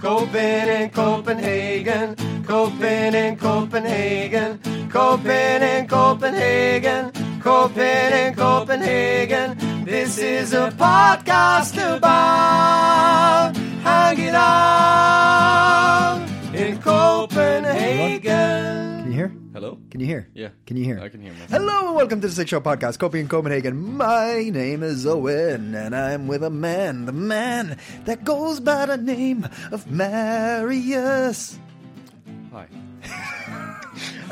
Copen in Copenhagen, Copen in Copenhagen, Copen in Copenhagen, Copen in Copenhagen. This is a podcast about hanging out in Copenhagen. Can you hear? Hello? Can you hear? Yeah. Can you hear? I can hear myself. Hello and welcome to the Sick Show podcast, Coping in Copenhagen. My name is Owen, and I'm with a man, the man that goes by the name of Marius. Hi.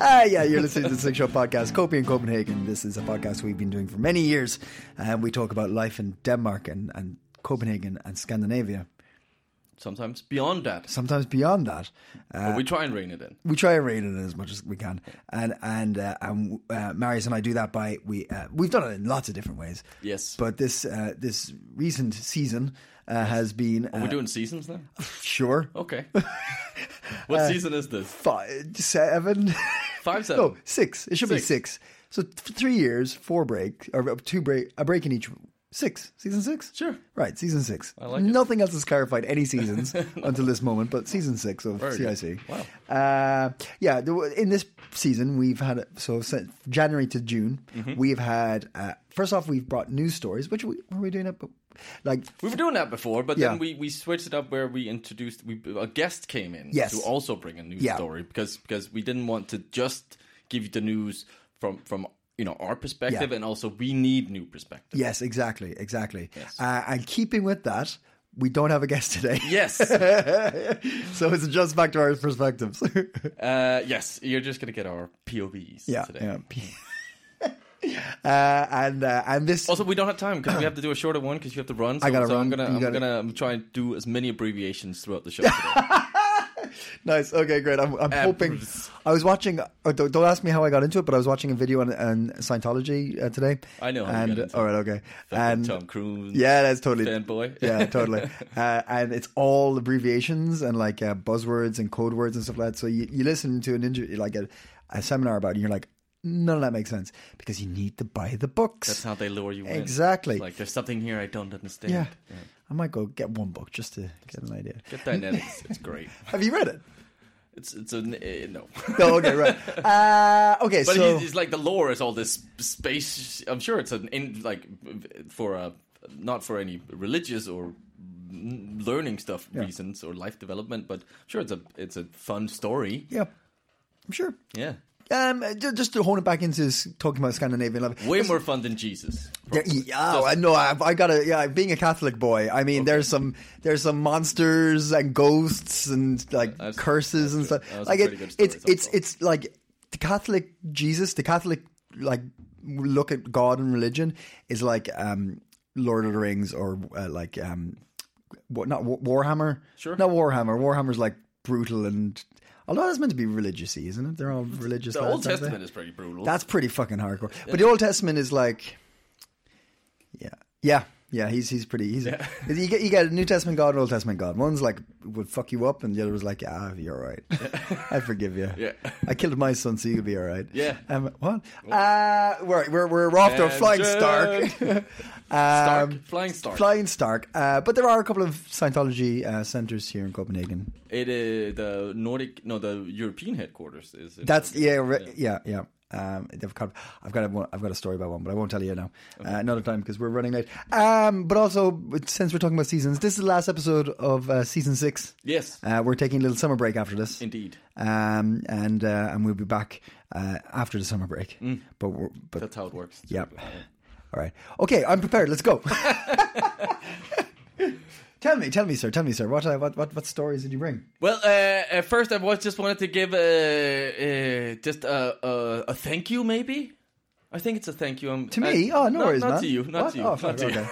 Ah, yeah, you're listening to the Sick Show podcast, Coping in Copenhagen. This is a podcast we've been doing for many years, and we talk about life in Denmark and, and Copenhagen and Scandinavia. Sometimes beyond that. Sometimes beyond that, Uh, but we try and rein it in. we try and rein it in as much as we can, and and uh, and uh, Marius and I do that by we uh, we've done it in lots of different ways. Yes. but this uh, this recent season uh, has been uh, Are we doing Oh. seasons now? sure Okay. what uh, season is this? five seven Five, seven. no Oh, six it should be six Six. so th- three years four break or two break a break in each six season six Sure. right season six I like it. nothing else has clarified any seasons until this moment but season six of Very good. CIC Wow. Uh, yeah, there were- in this season we've had so since January to June Mm-hmm. we've had uh, first off we've brought news stories which we were we doing it but like We were doing that before, but Yeah. then we, we switched it up where we introduced we a guest came in Yes. to also bring a news Yeah. story because because we didn't want to just give you the news from from you know our perspective Yeah. and also we need new perspective. yes exactly exactly Yes. uh, and keeping with that we don't have a guest today Yes. so it's just back to our perspectives uh, yes. You're just gonna get our POVs yeah today. yeah uh, and uh, and this Also, we don't have time because we have to do a shorter one because you have to run. So, I gotta so run. I'm gonna You I'm gotta- gonna try and do as many abbreviations throughout the show. Today. Nice. Okay, great. I'm, I'm hoping. Uh, Bruce. I was watching. Oh, don't, don't ask me how I got into it, but I was watching a video on, on Scientology uh, today. I know how you and got into all it. right, okay. and And Tom Cruise. yeah, that's totally fanboy. yeah, totally. Uh, and it's all abbreviations and like uh, buzzwords and code words and stuff like that. So you, you listen to an interview, like a, a seminar about, it and you're like, none of that makes sense because you need to buy the books. That's how they lure you in. Exactly. It's Like there's something here I don't understand. yeah. I might go get one book just to get an idea. Get dynamics. it's great. Have you read it? It's it's a eh, no. No, okay, right. Uh, okay, But so it's, it's like the lore is all this sp- space. I'm sure it's an in like for a not for any religious or n- learning stuff reasons or life development, but sure it's a it's a fun story. yeah, I'm sure. Yeah. Um, ju- just to hone it back into s- talking about Scandinavian love. Way more fun than Jesus. Yeah, yeah, oh, I know. I've, I gotta. Yeah, being a Catholic boy, I mean, there's some there's some monsters and ghosts and like I've- curses and I've- stuff. I've seen Like it, pretty good it's stories it's also. it's like the Catholic Jesus, the Catholic like look at God and religion is like um Lord of the Rings or uh, like um what not Wa- Warhammer. Sure. not Warhammer. Warhammer's like brutal and. Although that's meant to be religious-y, isn't it? They're all religious. The lads, Old aren't they? Testament is pretty brutal. That's pretty fucking hardcore. But the Old Testament is like, yeah, yeah, yeah. He's he's pretty. He's you get you get a New Testament God, and Old Testament God. One's like would fuck you up, and the other was like, ah, you're all right. I forgive you. Yeah. I killed my son, so you'll be all right. Yeah. Um, what? Uh, we're we're we're off to a flying Tangent. stark. Stark, Um, flying Stark. Flying Stark, uh, but there are a couple of Scientology uh, centers here in Copenhagen. It uh, the Nordic, no, the European headquarters is. In That's yeah, re- yeah, yeah. Um, they've got, I've got a, I've got a story about one, but I won't tell you now. Uh, another time because we're running late. Um, but also, since we're talking about seasons, this is the last episode of uh, season six. Yes, Uh, we're taking a little summer break after this, indeed. um, and uh, and we'll be back uh, after the summer break. But we're, but Mm. That's how it works. yeah. All right. Okay, I'm prepared. Let's go. tell me, tell me, sir. Tell me, sir. What uh, what what, what stories did you bring? Well, uh, uh, first I was just wanted to give uh, uh, just a, a a thank you, maybe. I think it's a thank you. Um, To me? I- oh, no not, worries, not man. to you, not What? to you, Oh, not fuck, to you. okay.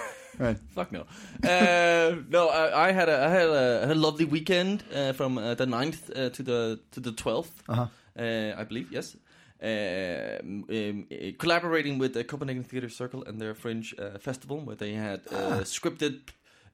Right. Fuck no. Uh, no, I, I had a I had a, I had a lovely weekend uh, from uh, the 9th uh, to the to the 12th Uh-huh. uh, I believe, yes. Um, um, uh, collaborating with the Copenhagen Theatre Circle and their Fringe uh, Festival, where they had uh, scripted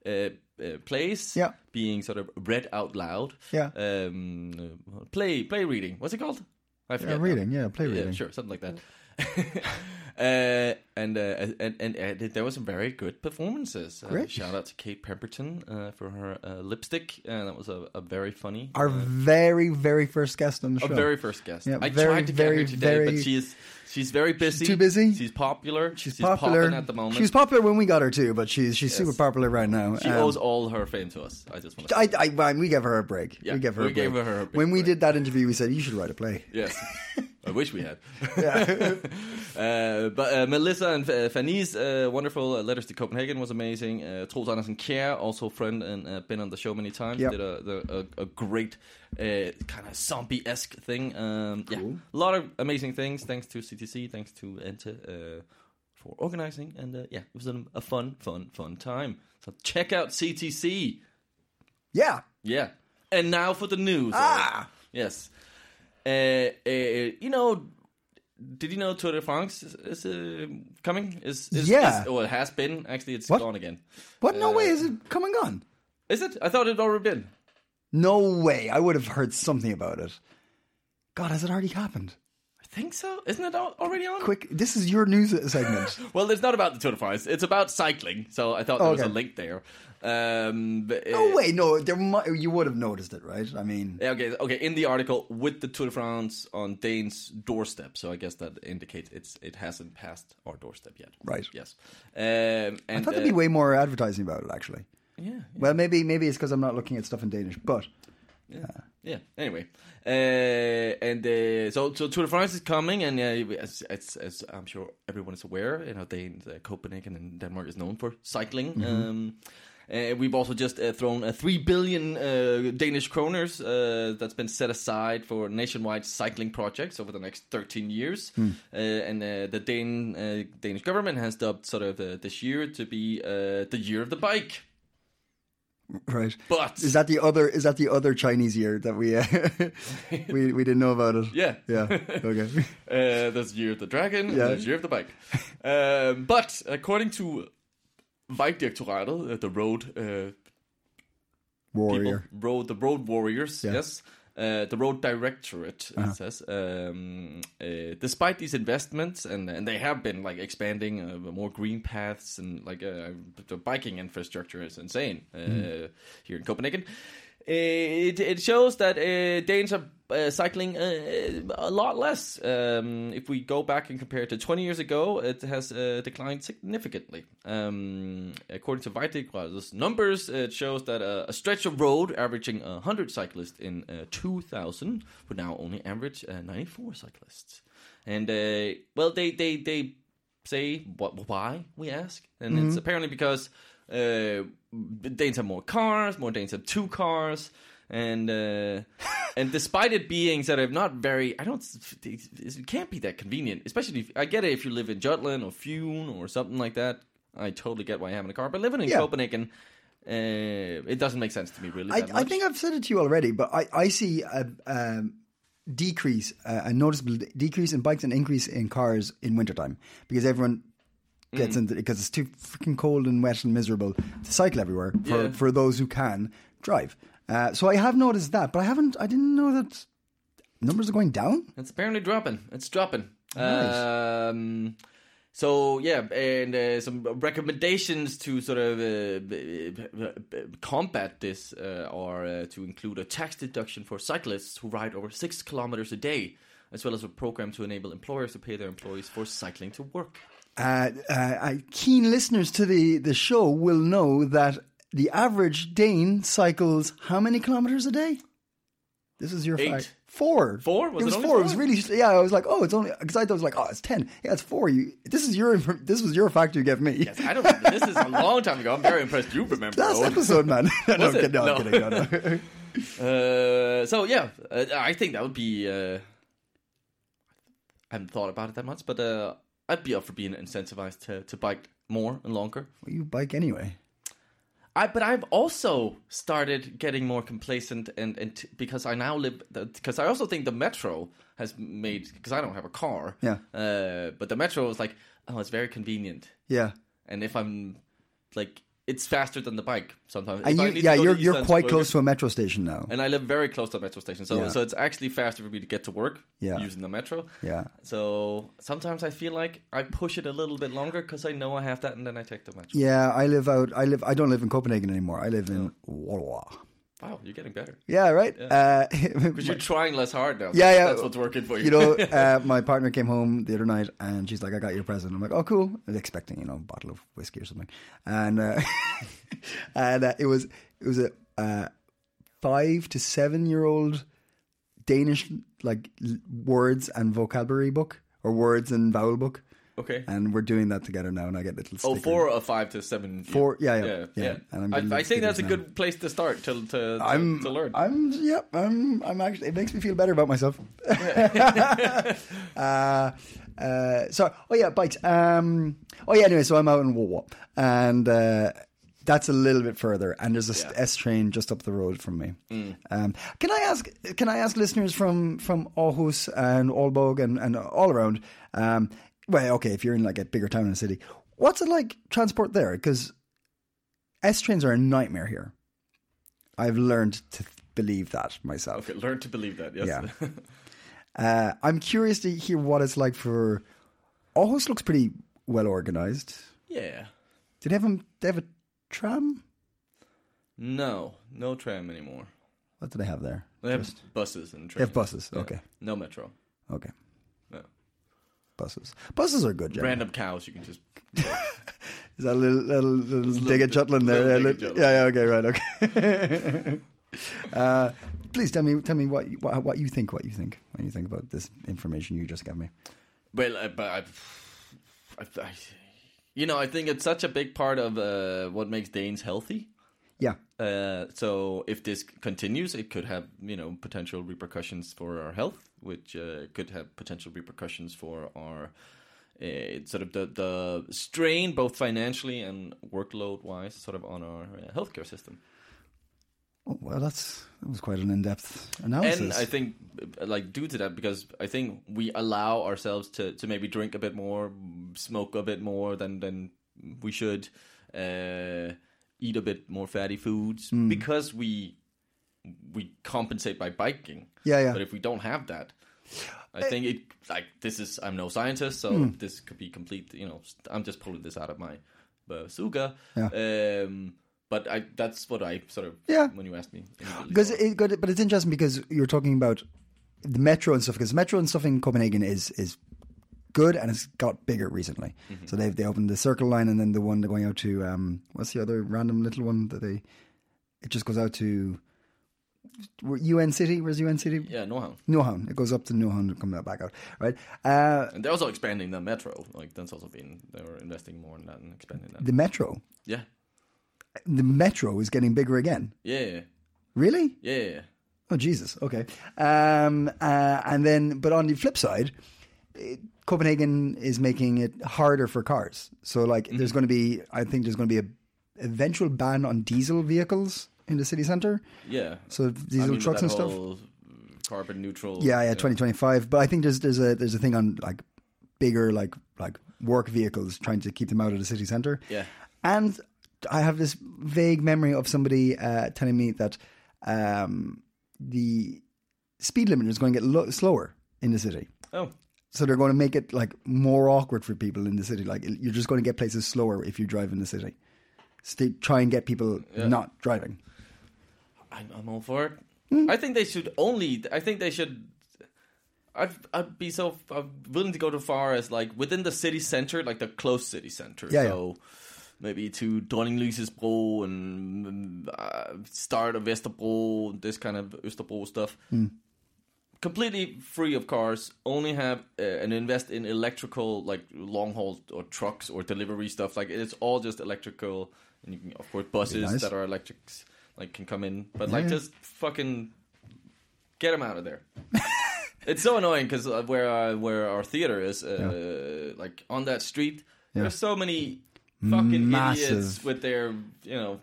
uh, uh, plays Ah. Yeah. being sort of read out loud. Yeah. Um, uh, play play reading. What's it called? I Yeah, forget. now. Uh, reading, yeah, play reading. Yeah, sure, something like that. uh, and, uh, and and and there was some very good performances. Uh, Great. shout out to Kate Pemberton uh, for her uh, lipstick. Uh, that was a, a very funny. Our very, very first guest on the Our show. Uh, very first guest. Yeah, I very, tried to get very, her today, very- but she's she's very busy. too busy? She's popular. She's, popular popping at the moment. She was popular when we got her too, but she's she's super popular right now. she Um, owes all her fame to us. I just want to. I, I, well, we gave her a break. Yeah, we gave her. we a break. gave her a big when we break. did that interview, we said you should write a play. Yes. I wish we had. uh, but uh, Melissa and uh, Fanny's uh, wonderful uh, letters to Copenhagen was amazing. Uh, Troels Andersen Kjær, also friend and uh, been on the show many times, Yep. did a, the, a, a great uh, kind of zombie esque thing. Um, Yeah, a lot of amazing things. Thanks to CTC, thanks to Ente uh, for organizing, and uh, yeah, it was an, a fun, fun, fun time. So check out CTC. Yeah, Yeah. And now for the news. Ah! Yes. Uh, uh, you know, did you know Tour de France is, is uh, coming? Is, is Yeah. Is, oh, it has been. Actually, it's What? gone again. what? No Uh, way is it coming on? Is it? I thought it'd already been. No way. I would have heard something about it. God, has it already happened? I think so. Isn't it al- already on? Quick, this is your news segment. Well, it's not about the Tour de France. It's about cycling. So I thought there was Okay. a link there. Um, but, no uh, way. No, there mu- you would have noticed it, right? I mean, Yeah, okay, okay. In the article, with the Tour de France on Dane's doorstep, so I guess that indicates it's it hasn't passed our doorstep yet. Right. Yes. Um, and, I thought there'd be uh, way more advertising about it. Actually, Yeah. well, maybe maybe it's because I'm not looking at stuff in Danish, but Yeah. Anyway, uh, and uh, so so Tour de France is coming, and uh, as, as, as I'm sure everyone is aware, you know, Dane, uh, Copenhagen and Denmark is known for cycling. Um, uh, we've also just uh, thrown uh, three billion uh, Danish kroners uh, that's been set aside for nationwide cycling projects over the next 13 years, uh, and uh, the Dane uh, Danish government has dubbed sort of uh, this year to be uh, the year of the bike. right. But Is that the other? Is that the other Chinese year that we uh, we we didn't know about it? Yeah. yeah. Okay. Uh, there's Year of the Dragon, and Yeah. there's Year of the Bike. um, but according to Vejdirektoratet, uh, the road uh, Warrior. people, road, the road warriors, Yeah. Uh-huh. yes. Uh, the road directorate it says, um, uh, despite these investments, and, and they have been like expanding uh, more green paths and like uh, the biking infrastructure is insane uh, Mm-hmm. here in Copenhagen. Eh, It, it shows that uh, Danes are uh, cycling uh, a lot less. Um, if we go back and compare it to 20 years ago, it has uh, declined significantly. Um, according to Vejdirektoratets numbers, it shows that uh, a stretch of road averaging 100 cyclists in uh, 2000 would now only average uh, 94 cyclists. And, uh, well, they, they, they say what, why, we ask. And Mm-hmm. it's apparently because uh, Danes have more cars, more Danes have two cars. And uh, and despite it being sort of not very, I don't, it can't be that convenient. Especially if I get it if you live in Jutland or Fune or something like that. I totally get why having a car, but living in Yeah. Copenhagen, uh, it doesn't make sense to me really. I, that I much. think I've said it to you already, but I, I see a, um decrease, a, a noticeable de- decrease in bikes and increase in cars in wintertime because everyone Mm. gets into because it's too freaking cold and wet and miserable to cycle everywhere for, Yeah. for those who can drive. Uh, so I have noticed that, but I haven't. I didn't know that numbers are going down. It's apparently dropping. It's dropping. Nice. Um, so yeah, and uh, some recommendations to sort of uh, b- b- b- combat this uh, are uh, to include a tax deduction for cyclists who ride over six kilometers a day, as well as a program to enable employers to pay their employees for cycling to work. uh, uh, uh, keen listeners to the, the show will know that the average Dane cycles how many kilometers a day? This is your Eight. fact. Four. Four? it Was it was only four. It was four? really. Yeah, I was like, oh, it's only because I thought it was like, oh, it's ten. Yeah, it's four. You. This is your. infor- This was your fact you gave me. Yes, I don't. This is a long time ago. I'm very impressed. You remember? Last Owen. episode, man. no, no, Was I'm kidding, it? no, I'm No. kidding. No, no. Uh, so yeah, uh, I think that would be. Uh, I haven't thought about it that much, but uh, I'd be up for being incentivized to, to bike more and longer. Well, you bike anyway. I but I've also started getting more complacent and and t- because I now live because I also think the metro has made because I don't have a car. Yeah. Uh, but the metro is like oh it's very convenient Yeah. and if I'm like it's faster than the bike sometimes. And If I you, need to yeah, go to you're you're East quite Landsberg- close to a metro station now. And I live very close to the metro station, so Yeah. so it's actually faster for me to get to work Yeah. using the metro. Yeah. So sometimes I feel like I push it a little bit longer because I know I have that, and then I take the metro. Yeah, I live out. I live. I don't live in Copenhagen anymore. I live in Warwa. Wow, you're getting better Yeah, right. Uh, because you're trying less hard now. Yeah, yeah. That's what's working for you. you know, uh, my partner came home the other night and she's like, I got you a present. I'm like, oh, cool. I was expecting, you know, a bottle of whiskey or something. And, uh, and uh, it was, it was a uh, five to seven year old Danish, like l- words and vocabulary book or words and vowel book. okay. And we're doing that together now. And I get little Oh, stickers. four or five to seven. Four- yeah, yeah, yeah. yeah. And I'm getting I, I think that's a stickers good place to start to to, to, I'm, to learn. I'm, yep, I'm, I'm actually, it makes me feel better about myself. uh, uh, so, oh yeah, bikes. Um, oh yeah, anyway, so I'm out in Wawa and, uh, that's a little bit further, and there's a s- S train just up the road from me. Um, can I ask? Can I ask listeners from from Aarhus and Aalborg and, and all around? Um, well, okay, if you're in like a bigger town in a city, what's it like transport there? Because S trains are a nightmare here. I've learned to th- believe that myself. Okay, learn to believe that. Yes. Yeah. Uh, I'm curious to hear what it's like for. Aarhus looks pretty well organized. Yeah. Did they have, a, they have a tram? No, no tram anymore. What do they have there? They have buses and trains. They have buses. Yeah. Okay. No metro. Okay. No. Buses. Buses are good, Jeremy. Random cows. You can just. Is that a little, little, little, dig bit- at Jutland there? little Yeah, dig at li- Jutland. yeah, yeah, okay, right, okay. uh, please tell me, tell me what, you- what what you think, what you think, what you think about this information you just gave me. Well, I, but I, I, I, you know, I think it's such a big part of uh, what makes Danes healthy. Yeah, Uh, so if this continues, it could have you know potential repercussions for our health, which uh, could have potential repercussions for our uh, sort of the the strain, both financially and workload wise, sort of on our uh, healthcare system. oh, well, that's that was quite an in-depth analysis. And I think, uh, like, due to that, because I think we allow ourselves to, to maybe drink a bit more, smoke a bit more than than we should, uh, eat a bit more fatty foods Hmm. because we we compensate by biking. Yeah, yeah. Eh. But if we don't have that, I think it like this is I'm no scientist, so Hmm. this could be complete. You know, st- I'm just pulling this out of my bazooka. Um, but I that's what I sort of Yeah. when you asked me because it got, but it's interesting because you're talking about the metro and stuff because metro and stuff in Copenhagen is is good and it's got bigger recently. Mm-hmm. So they they opened the Circle line and then the one going out to um what's the other random little one that they it just goes out to UN City. Where's UN City? yeah no harm. Newhound. It goes up to Newhound and comes out back out. Right. Uh, And they're also expanding the metro. Like that's also been they were investing more in that and expanding that. the metro. Yeah, The metro is getting bigger again. yeah, Really? yeah, yeah. Oh Jesus! Okay, um, uh, and then but on the flip side, it, Copenhagen is making it harder for cars. So like, there's Mm-hmm. going to be, I think there's going to be a eventual ban on diesel vehicles in the city center. yeah. So I diesel mean, trucks with and that stuff. whole mm, Carbon neutral. Yeah, yeah, twenty twenty five. But I think there's there's a there's a thing on like bigger like like work vehicles trying to keep them out of the city center. Yeah. and I have this vague memory of somebody uh, telling me that um, the speed limit is going to get lo- slower in the city. Oh, So they're going to make it like more awkward for people in the city. Like you're just going to get places slower if you drive in the city. So they try and get people not driving. I'm, I'm all for it. Hmm? I think they should only. I think they should. I'd I'd be so I'm willing to go to far as like within the city center, like the close city center. Yeah, so maybe to Dronninglyse's and uh, start of Vesterbro, this kind of Österbro stuff. Hmm. Completely free of cars. Only have uh, and invest in electrical, like long haul or trucks or delivery stuff. Like it's all just electrical, and you can of course buses nice. that are electrics like can come in, but like just fucking get them out of there. it's so annoying because where uh, where our theater is, uh, like on that street, there's so many fucking Massive. idiots with their you know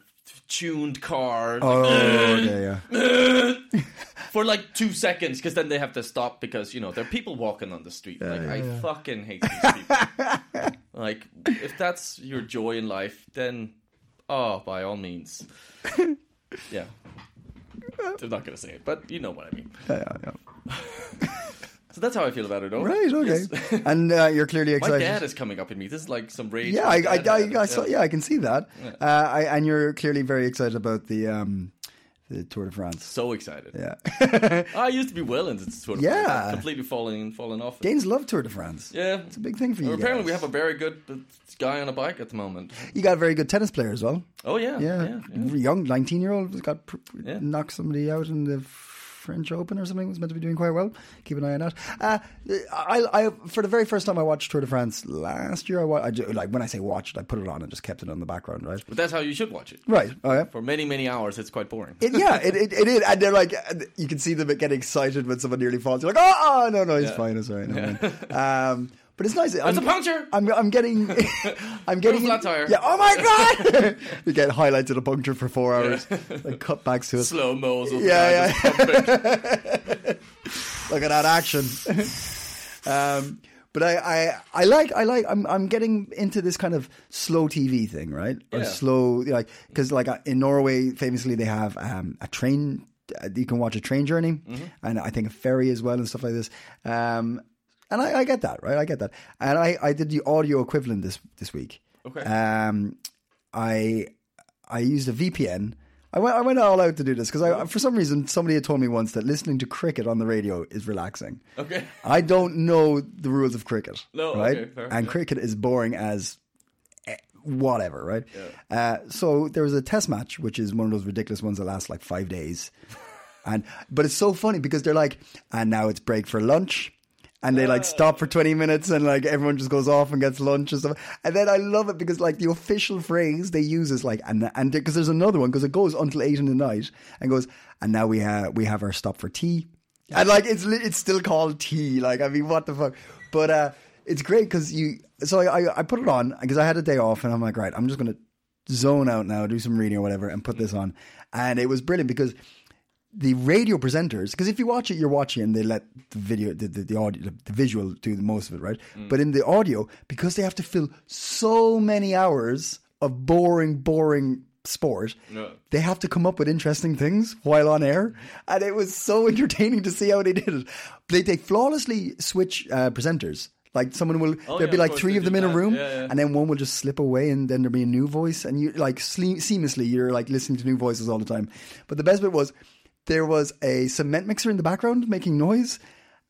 tuned cars Oh, yeah, yeah. for like two seconds because then they have to stop because you know there are people walking on the street. like I fucking hate these people. like if that's your joy in life, then oh, by all means, yeah. I'm not gonna say it, but you know what I mean. yeah, yeah, yeah. So that's how I feel about it. All Right, okay. And uh, you're clearly My excited. dad is coming up in me. This is like some rage. yeah, I, my I, dad had. I, I saw, yeah, I can see that. Uh, I, and you're clearly very excited about the um, the Tour de France. So excited. Yeah, I used to be well into this sort of Yeah. thing. I've completely falling falling off. Danes love Tour de France. yeah. it's a big thing for you. Apparently, guys. we have a very good uh, guy on a bike at the moment. you got a very good tennis player as well. Oh yeah, Yeah, yeah, yeah. young nineteen year old got pr- pr- Yeah. knocked somebody out in the French Open or something. Was meant to be doing quite well. Keep an eye on that. Uh, I, I for the very first time I watched Tour de France last year. I, wa- I ju- like when I say watched, I put it on and just kept it on the background. Right, But that's how you should watch it. right. Oh yeah. For many, many hours, it's quite boring. It, yeah, it, it, it is. And they're like, and you can see them get excited when someone nearly falls. You're like, oh, oh no, no, he's fine, it's all right. never mind." Um, but it's nice. That's a puncture! I'm, I'm getting, I'm getting flat tire. Yeah. Oh my god! you get highlights of the puncture for four hours, like cutbacks to it. Slow mo's. Yeah, Look at that action. um, but I, I, I like, I like. I'm, I'm getting into this kind of slow TV thing, right? Or Yeah. slow, like, because like uh, in Norway, famously they have um, a train. uh, You can watch a train journey, and I think a ferry as well, and stuff like this. Um, and I, I get that, right? I get that. And I, I did the audio equivalent this this week. Okay. Um, I I used a VPN. I went, I went all out to do this because I, for some reason, somebody had told me once that listening to cricket on the radio is relaxing. Okay. I don't know the rules of cricket, No, right? okay, fair, and yeah. cricket is boring as eh, whatever, right? Uh, so there was a test match, which is one of those ridiculous ones that lasts like five days, and but it's so funny because they're like, and now it's break for lunch. And they like stop for 20 minutes and like everyone just goes off and gets lunch and stuff. And then I love it because like the official phrase they use is like, and, and because there's another one because it goes until eight in the night and goes, and now we have, we have our stop for tea. And like it's li- it's still called tea. Like I mean, what the fuck? But uh, it's great because you. So I, I I put it on because I had a day off, and I'm like, right, I'm just gonna zone out now, do some reading or whatever, and put Mm. this on. And it was brilliant because the radio presenters, because if you watch it, you're watching, and they let the video, the the, the audio, the, the visual do the most of it, right? Mm. But in the audio, because they have to fill so many hours of boring, boring sport, No. they have to come up with interesting things while on air, Mm-hmm. and it was so entertaining to see how they did it. They they flawlessly switch uh, presenters. Like someone will, there'll Oh, yeah, be of like course three they of them do in a that. room, Yeah, yeah. and then one will just slip away, and then there'll be a new voice, and you like sle- seamlessly, you're like listening to new voices all the time. But the best bit was there was a cement mixer in the background making noise,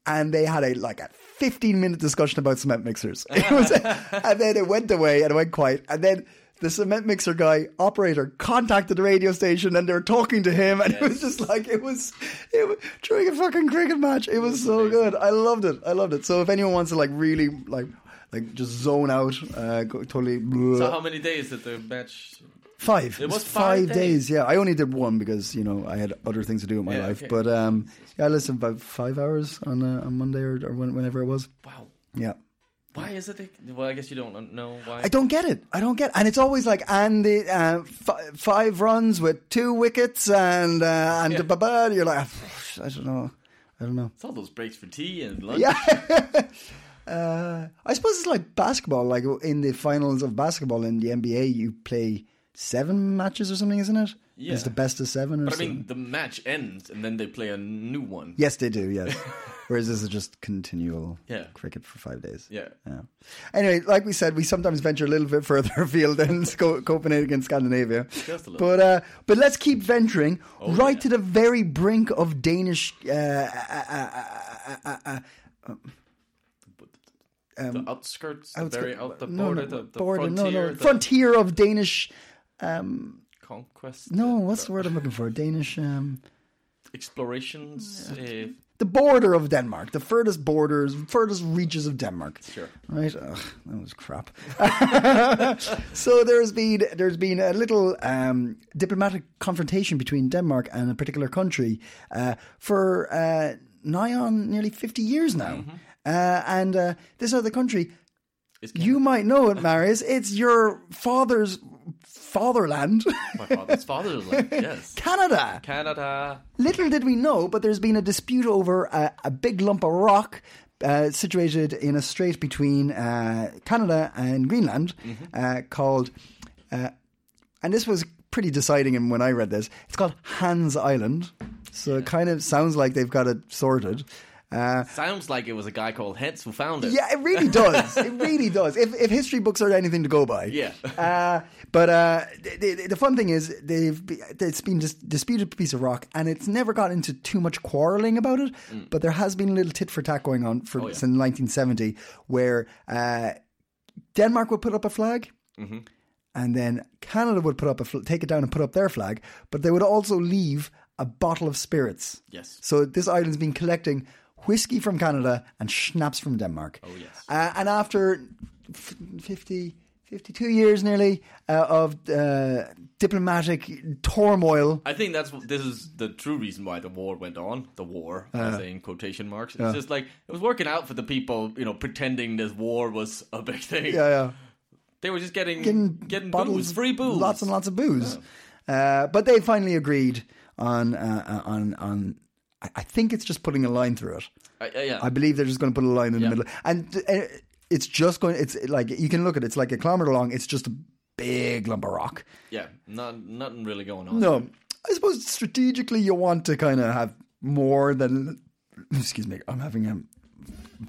and they had a like a 15 minute discussion about cement mixers. It was, and then it went away and it went quiet, and then. The cement mixer guy operator contacted the radio station, and they were talking to him, and it was just like it was, it was during a fucking cricket match. It was so good. I loved it. I loved it. So if anyone wants to like really like like just zone out, uh, go, totally. So how many days did the match? Five. It was five five days. days. Yeah, I only did one because you know I had other things to do in my Yeah, life. okay. But um, yeah, I listened about five hours on uh, on Monday or, or when, whenever it was. Wow. Yeah, Why is it? They, well, I guess you don't know why. I don't get it. I don't get, and it's always like and the uh, f- five runs with two wickets and uh, and Yeah. ba ba. You're like, "Oh, I don't know, I don't know. It's all those breaks for tea and lunch. Yeah. uh, I suppose it's like basketball. Like in the finals of basketball in the NBA, you play seven matches or something, isn't it? Yeah. It's the best of seven or But I something. mean, the match ends and then they play a new one. yes, they do, yes. Whereas this is just continual Yeah. cricket for five days. Yeah. Yeah. Anyway, like we said, we sometimes venture a little bit further afield than Sco- Copenhagen and Scandinavia. Just a little. Oh, But uh, but let's keep venturing right yeah. to the very brink of Danish. Uh, uh, uh, uh, uh, uh, the outskirts, the outskirts- very out the Um, no, border, no, the, the border, no, frontier, no, the frontier of Danish. conquest. No, the what's the word I'm looking for? Danish. Um, explorations? Uh, the border of Denmark, the furthest borders, furthest reaches of Denmark. Sure. Right? Ugh, that was crap. so there's been there's been a little um, diplomatic confrontation between Denmark and a particular country uh, for uh, nigh on nearly 50 years now. Uh, and uh, this other country It's You might know it, Marius. It's your father's fatherland, my father's father's land. Yes, Canada. Canada. Little did we know, but there's been a dispute over a, a big lump of rock uh, situated in a strait between uh, Canada and Greenland uh, called, uh, and this was pretty deciding in- when I read this, it's called Hans Island. So it kind of sounds like they've got it sorted. Uh, Sounds like it was a guy called Hentz who found it. yeah, it really does. it really does. If, if history books are anything to go by. Yeah. Uh, but uh, the, the- the fun thing is they've be- it's been dis- disputed piece of rock, and it's never got into too much quarrelling about it. But there has been a little tit for tat going on for, yeah. since 1970, where uh, Denmark would put up a flag. And then Canada would put up a fl- take it down and put up their flag, but they would also leave a bottle of spirits. Yes. So this island's been collecting whiskey from Canada and schnapps from Denmark. Oh yes. uh, and after f- 50, 52 years nearly uh, of uh, diplomatic turmoil, I think that's this is the true reason why the war went on. The war, I Uh-huh. say in quotation marks. It's just like it was working out for the people, you know, pretending this war was a big thing. yeah, yeah, They were just getting getting, getting, uh, bottles, booze, free booze, lots and lots of booze. Uh, but they finally agreed on uh, uh, on on. I- I think it's just putting a line through it. Uh, yeah, yeah. I believe they're just going to put a line in Yeah. the middle, and uh, it's just going. It's like you can look at it, it's like a kilometer long. It's just a big lump of rock. yeah, not nothing really going on. No, I suppose strategically you want to kind of have more than. Excuse me, I'm having a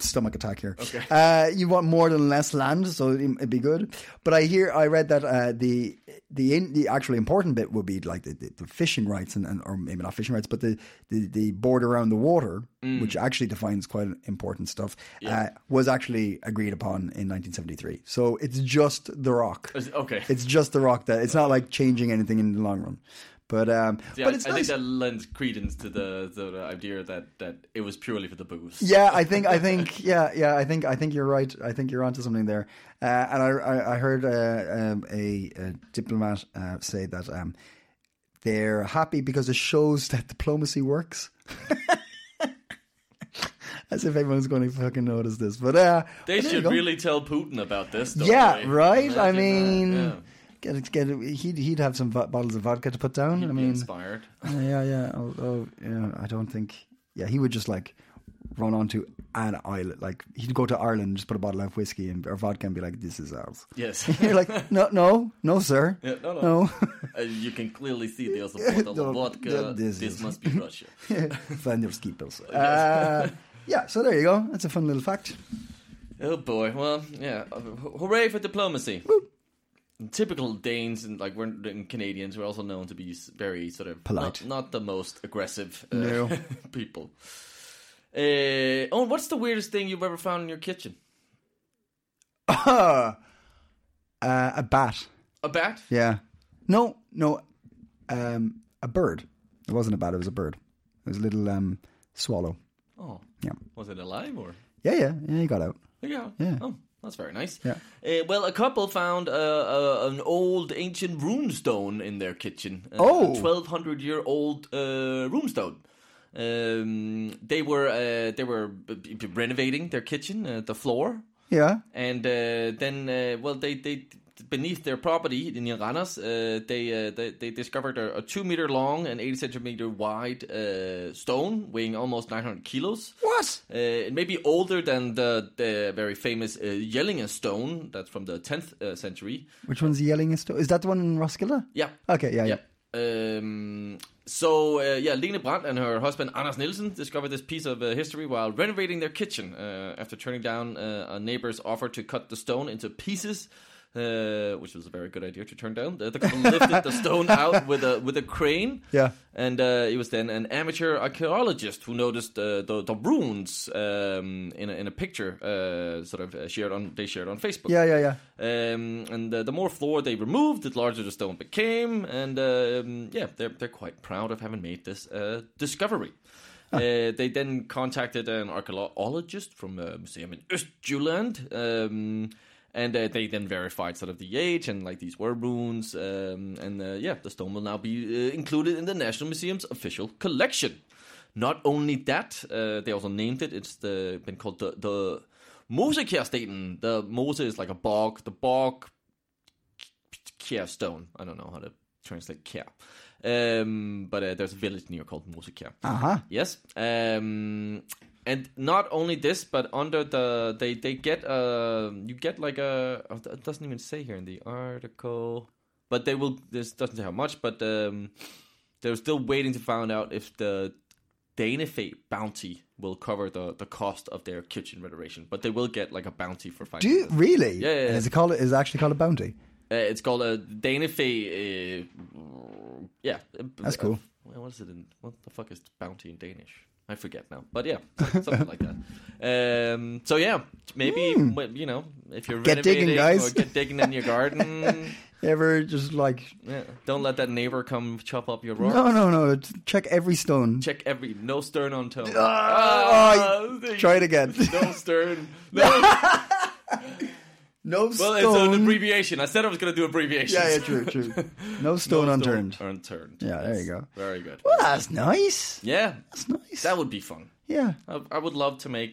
stomach attack here. Okay. Uh, you want more than less land, so it- it'd be good. But I hear I read that uh, the the in, the actually important bit would be like the, the, the fishing rights and, and or maybe not fishing rights, but the the, the border around the water, which actually defines quite important stuff, uh, was actually agreed upon in 1973. So it's just the rock. Is- okay. It's just the rock that it's not like changing anything in the long run. But um, Yeah, but it's I, nice. think that lends credence to the, the, the idea that, that it was purely for the booze. yeah, I think I think yeah yeah I think I think you're right. I think you're onto something there. Uh, and I I, I heard uh, um, a, a diplomat uh, say that um, they're happy because it shows that diplomacy works. As if anyone's going to fucking notice this, but uh, They but there you should go. really tell Putin about this. Don't Yeah, they? right. I Imagine that, mean, yeah. get, get, he'd he'd have some vo- bottles of vodka to put down. I Be mean, inspired. yeah, yeah. Although, yeah, I don't think. Yeah, he would just like run onto an island. Like he'd go to Ireland, just put a bottle of whiskey and or vodka, and be like, "This is ours." Yes. You're like, no, no, no, sir. Yeah, no, no. Uh, you can clearly see there's a bottle No, of vodka. that- this This, is- must be Russia. Van der Skeepers. Uh, yeah, so there you go. That's a fun little fact. oh boy. Well, yeah. Uh, ho- Hooray for diplomacy. Typical Danes and like we're and Canadians. We're also known to be s- very sort of Polite. Not, not the most aggressive uh, No. people. Uh, oh, what's the weirdest thing you've ever found in your kitchen? uh, a bat. A bat? Yeah. No, no. Um, a bird. It wasn't a bat. It was a bird. It was a little um, swallow. Oh, Yeah. was it alive or? Yeah, yeah, yeah. He got out. Yeah. Yeah. Oh, that's very nice. Yeah. Uh, well, a couple found uh, uh, an old ancient runestone in their kitchen. Uh, Oh. A 1200 year old uh, runestone. Um, they were uh, they were b- b- renovating their kitchen, uh, the floor, Yeah. and uh, then uh, well they they beneath their property in Iranas, uh, they, uh, they they discovered a, a two meter long and eighty centimeter wide uh, stone weighing almost nine hundred kilos. What? Uh, it may be older than the, the very famous uh, Yellinga stone that's from the 10th uh, century. Which one's yelling? Is that the one in Roskilde? Yeah. Okay, yeah, yeah. Yeah. Um, so, uh, yeah, Lene Brandt and her husband Anders Nielsen discovered this piece of uh, history while renovating their kitchen uh, after turning down uh, a neighbor's offer to cut the stone into pieces. Uh, which was a very good idea to turn down. The the couple lifted the stone out with a with a crane. Yeah. and uh, it was then an amateur archaeologist who noticed uh, the the runes um, in a, in a picture, uh, sort of uh, shared on they shared on Facebook. Yeah, yeah, yeah. Um, and uh, the more floor they removed, the larger the stone became. And um, yeah, they're, they're quite proud of having made this uh, discovery. Uh, they then contacted an archaeologist from a museum in Östjylland. Um, and uh, they then verified sort of the age and like these were runes. Um, and uh, yeah, the stone will now be uh, included in the National Museum's official collection. Not only that, uh, they also named it. It's the, been called the, the Mosekærstenen. The Mose is like a bog. The bog Kjær stone. I don't know how to translate Kjær. Um, but uh, there's a village near called Mosekjær. Uh huh. Yes. Um, and not only this, but under the they they get uh you get like a oh, it doesn't even say here in the article, but they will this doesn't say how much, but um they're still waiting to find out if the Danefate bounty will cover the the cost of their kitchen renovation, but they will get like a bounty for Do finding. you this. really? Yeah, yeah, yeah. And Is it called? Is it actually called a bounty? Uh, it's called a Danefate. Uh, yeah, That's cool. Well, what is it in what the fuck is bounty in Danish? I forget now, but yeah, something like that. Um, so yeah, maybe wh- you know if you're Hmm. Get digging, renovating guys. or get digging in your garden. You ever just like yeah, don't let that neighbor come chop up your rocks. no, no, no. t- Check every stone. Check every no stern on toe. Ah, Ah, they- Try it again. No stern. No. No well, stone. it's an abbreviation. I said I was going to do abbreviations. yeah, yeah, true, true. No stone No unturned. Unturned. Yeah, there you go. Very good. Well, that's nice. Yeah, That's nice. that would be fun. yeah, I, I would love to make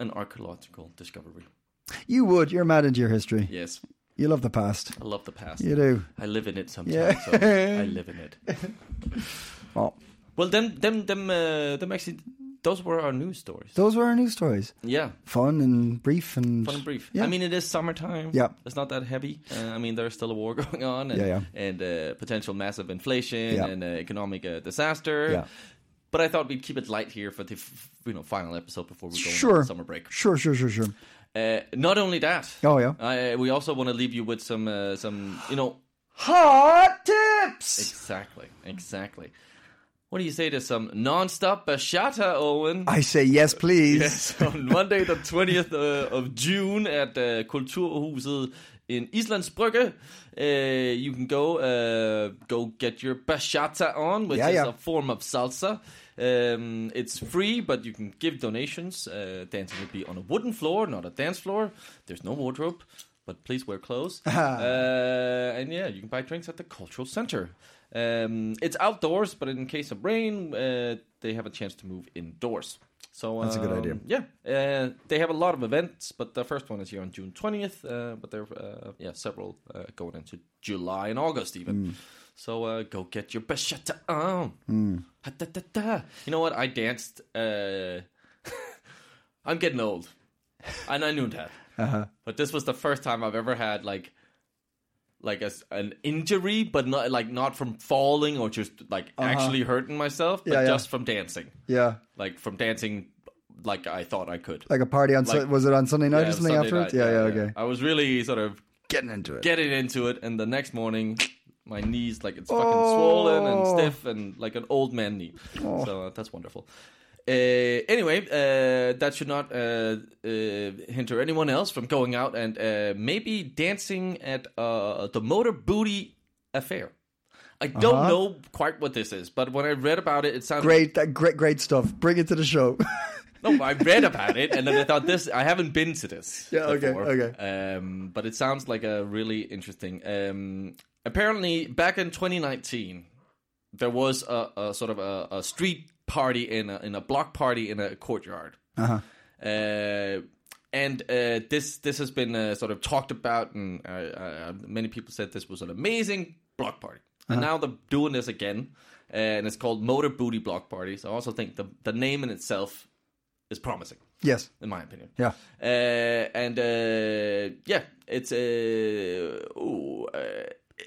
an archaeological discovery. you would. You're mad into your history. Yes, You love the past. I love the past. You do. I live in it sometimes. Yeah. so I live in it. Oh, Well, them, them, them, uh, them. Actually, those were our news stories. those were our news stories. Yeah, Fun and brief and fun and brief. Yeah. I mean, it is summertime. Yeah. it's not that heavy. Uh, I mean, there's still a war going on, and, Yeah, yeah. and uh, potential massive inflation Yeah. and uh, economic uh, disaster. Yeah. But I thought we'd keep it light here for the f- you know final episode before we go Sure. on summer break. Sure, sure, sure, sure. Uh, not only that. Oh, yeah. I, we also want to leave you with some uh, some you know Hot tips. exactly exactly. What do you say to some non-stop bachata, Owen? I say yes, please. Yes, on Monday the 20th uh, of June at uh, Kulturhuset in Islands Brygge. Uh, you can go uh, go get your bachata on, which Yeah, is yeah. a form of salsa. Um, it's free, but you can give donations. Uh, dancing will be on a wooden floor, not a dance floor. There's no wardrobe. But please wear clothes. uh, and yeah, you can buy drinks at the cultural center. Um, it's outdoors, but in case of rain, uh, they have a chance to move indoors. So That's a good um, idea. yeah, uh, they have a lot of events, but the first one is here on June twentieth. Uh, but there, are, uh, yeah, several uh, going into July and August even. Mm. So uh, go get your bachata on. Mm. Ha, da, da, da. You know what? I danced. Uh, I'm getting old, and I knew that. Uh-huh. But this was the first time I've ever had like like a s an injury, but not like not from falling or just like actually hurting myself, Uh-huh. but Yeah, yeah. just from dancing Yeah, like from dancing like I thought I could. like a party on. Su- Like- was it on Sunday night Yeah, or something Sunday afterwards? night, yeah, yeah, okay. I was really sort of Getting into it. getting into it, and the next morning, my knees like it's fucking Oh. swollen and stiff and like an old man knee. So uh, that's wonderful. Uh, anyway, uh, that should not uh, uh, hinder anyone else from going out and uh, maybe dancing at uh, the Motor Booty Affair. I don't Uh-huh. know quite what this is, but when I read about it, it sounded Great, that great, great stuff. Bring it to the show. No, I read about it, and then I thought this. I haven't been to this. Yeah, okay, before. okay. Um, but it sounds like a really interesting. Um, apparently, back in 2019, there was a, a sort of a, a street party in a, in a block party in a courtyard. Uh-huh. and uh, this this has been uh, sort of talked about, and uh, uh, many people said this was an amazing block party. And now they're doing this again, uh, and it's called Motor Booty Block Party. So I also think the the name in itself is promising, yes. in my opinion. Yeah. Uh, and uh, yeah, it's uh, ooh, uh,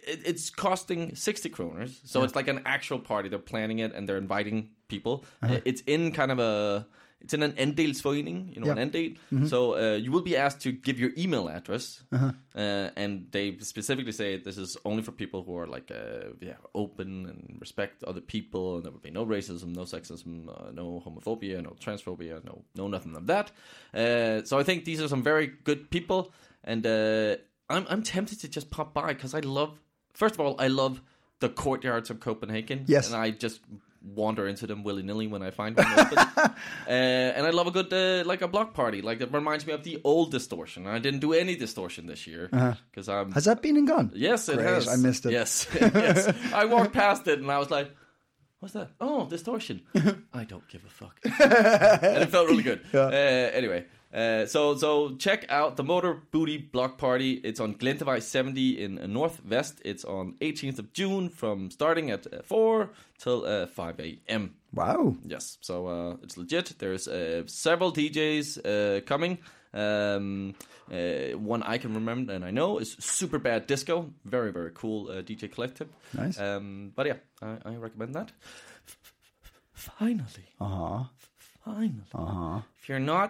it, it's costing sixty kroners, so it's like an actual party. They're planning it and they're inviting people. Uh, It's in kind of a it's in an enddelsforening, you know, Yeah. an enddel. So uh, you will be asked to give your email address, uh and they specifically say this is only for people who are like uh, yeah open and respect other people, and there will be no racism, no sexism, uh, no homophobia, no transphobia, no no nothing of that. Uh, so I think these are some very good people, and uh, I'm I'm tempted to just pop by because I love first of all I love the courtyards of Copenhagen, Yes. and I just wander into them willy nilly when I find them open. Uh, and I love a good uh, like a block party. Like that reminds me of the old distortion. I didn't do any distortion this year because I'm. Has that been and gone? yes, it Great, has. I missed it. Yes, yes. I walked past it and I was like, "What's that? Oh, distortion." I don't give a fuck. and it felt really good. Uh, anyway, Uh, so so check out the Motor Booty Block Party. It's on Glentevai 70 in uh, North West. It's on 18th of June from starting at uh, 4 till uh, 5 a.m. Wow. Yes, so uh, it's legit. There's uh, several DJs uh, coming. Um, uh, one I can remember and I know is Super Bad Disco. Very, very cool uh, DJ collective. Nice. Um, but yeah, I, I recommend that. Finally, Uh huh. finally. Uh huh. If you're not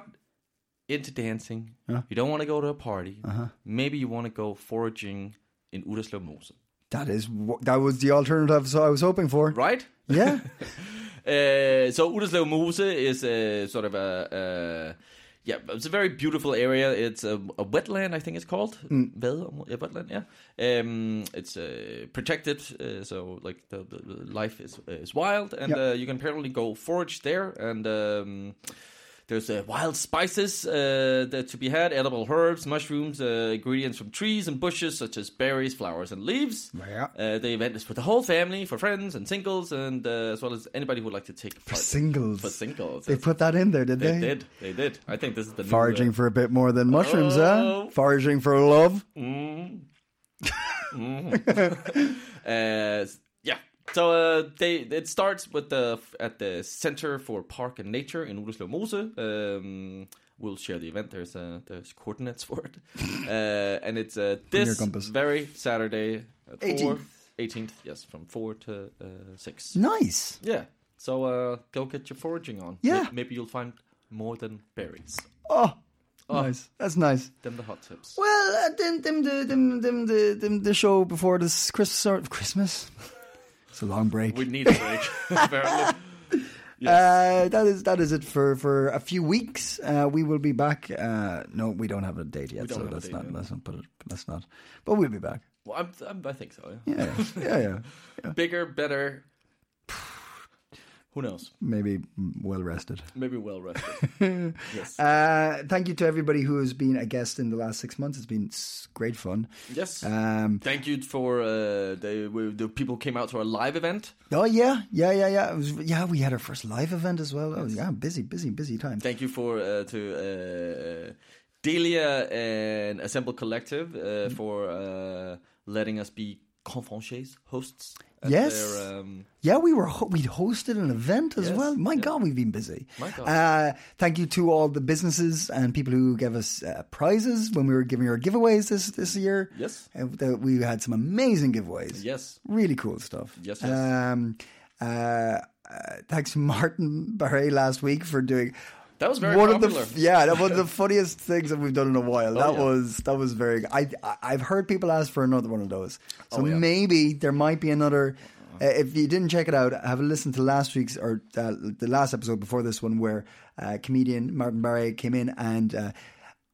into dancing, you don't want to go to a party, maybe you want to go foraging in Uderslev Mose. That is wh- that was the alternative I was hoping for. Right? Yeah. Uh, so Udderslev Mose is a sort of a uh, yeah, it's a very beautiful area. It's a, a wetland, I think it's called. Vad- yeah, wetland, yeah. Um, it's uh, protected, uh, so like the, the the life is is wild, and Yeah. uh, you can apparently go forage there. And um, there's uh, wild spices uh, that to be had, edible herbs, mushrooms, uh, ingredients from trees and bushes such as berries, flowers, and leaves. Yeah. Uh, the event is for the whole family, for friends and singles, and uh, as well as anybody who would like to take part. singles. For singles. They put that in there, did they they? did. They did. I think this is the new, Foraging uh, for a bit more than mushrooms, Oh. Hmm. huh? Foraging for love. Uh, yeah. So uh, they it starts with the at the Center for Park and Nature in Ullerslev Mose. Um, we'll share the event. There's uh, there's coordinates for it, uh, and it's uh, this compass. very Saturday, at 4, 18th. 18th. Yes, from four to uh, six. Nice. Yeah. So uh, go get your foraging on. Yeah. May- Maybe you'll find more than berries, Oh, nice. That's nice. than the hot tips. Well, uh, them, them, the, them, them, the, them, the show before this Christmas. or- Christmas. it's a long break. We need a break. apparently. Uh, that is that is it for, for a few weeks. Uh, we will be back. Uh, no, we don't have a date yet, don't so have a let's date not yet. let's not put it. Let's not. But we'll be back. Well, I'm, I'm, I think so. Yeah. Yeah, yeah, yeah. bigger, better. Who knows? Maybe well rested. Maybe well rested. yes. Uh, thank you to everybody who has been a guest in the last six months. It's been s- great fun. yes. Um, Thank you for uh, the, we- the people who came out to our live event. oh yeah, yeah, yeah, yeah. It was, yeah, we had our first live event as well. Oh yeah, busy, busy, busy time. Thank you for uh, to uh, Delia and Assemble Collective Mm-hmm. uh, for uh, letting us be conferenciers, hosts. at Yes. Their, um, Yeah, we were ho- we'd hosted an event as Yes, well. My yeah. God, we've been busy. My God. Uh, thank you to all the businesses and people who gave us uh, prizes when we were giving our giveaways this this year. Yes. Uh, the- we had some amazing giveaways. yes. really cool stuff. Yes, yes. Um, uh, uh, thanks, to Martin Barre, last week for doing. That was very one popular. Oh, Of the, yeah, that was the funniest things that we've done in a while. that yeah. was that was very. I I- I've heard people ask for another one of those, so Oh, yeah. maybe there might be another. Uh, if you didn't check it out, have a listen to last week's or uh, the last episode before this one, where uh, comedian Martin Barre came in and uh,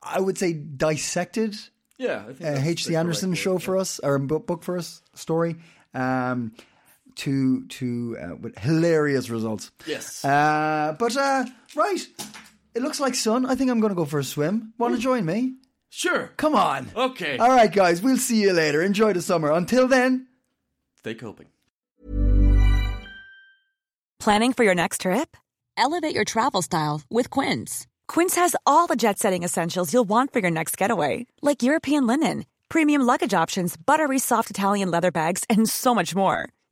I would say dissected Yeah. I think uh, that's the H.C. correct Anderson word, show yeah. for us or book, book for us story um, to to uh, with hilarious results. Yes. Uh, but uh, right, it looks like sun. I think I'm going to go for a swim. Want to join me? Sure. Come on. Okay. All right, guys. We'll see you later. Enjoy the summer. Until then. Stay coping. Planning for your next trip? Elevate your travel style with Quince. Quince has all the jet setting essentials you'll want for your next getaway, like European linen, premium luggage options, buttery soft Italian leather bags, and so much more.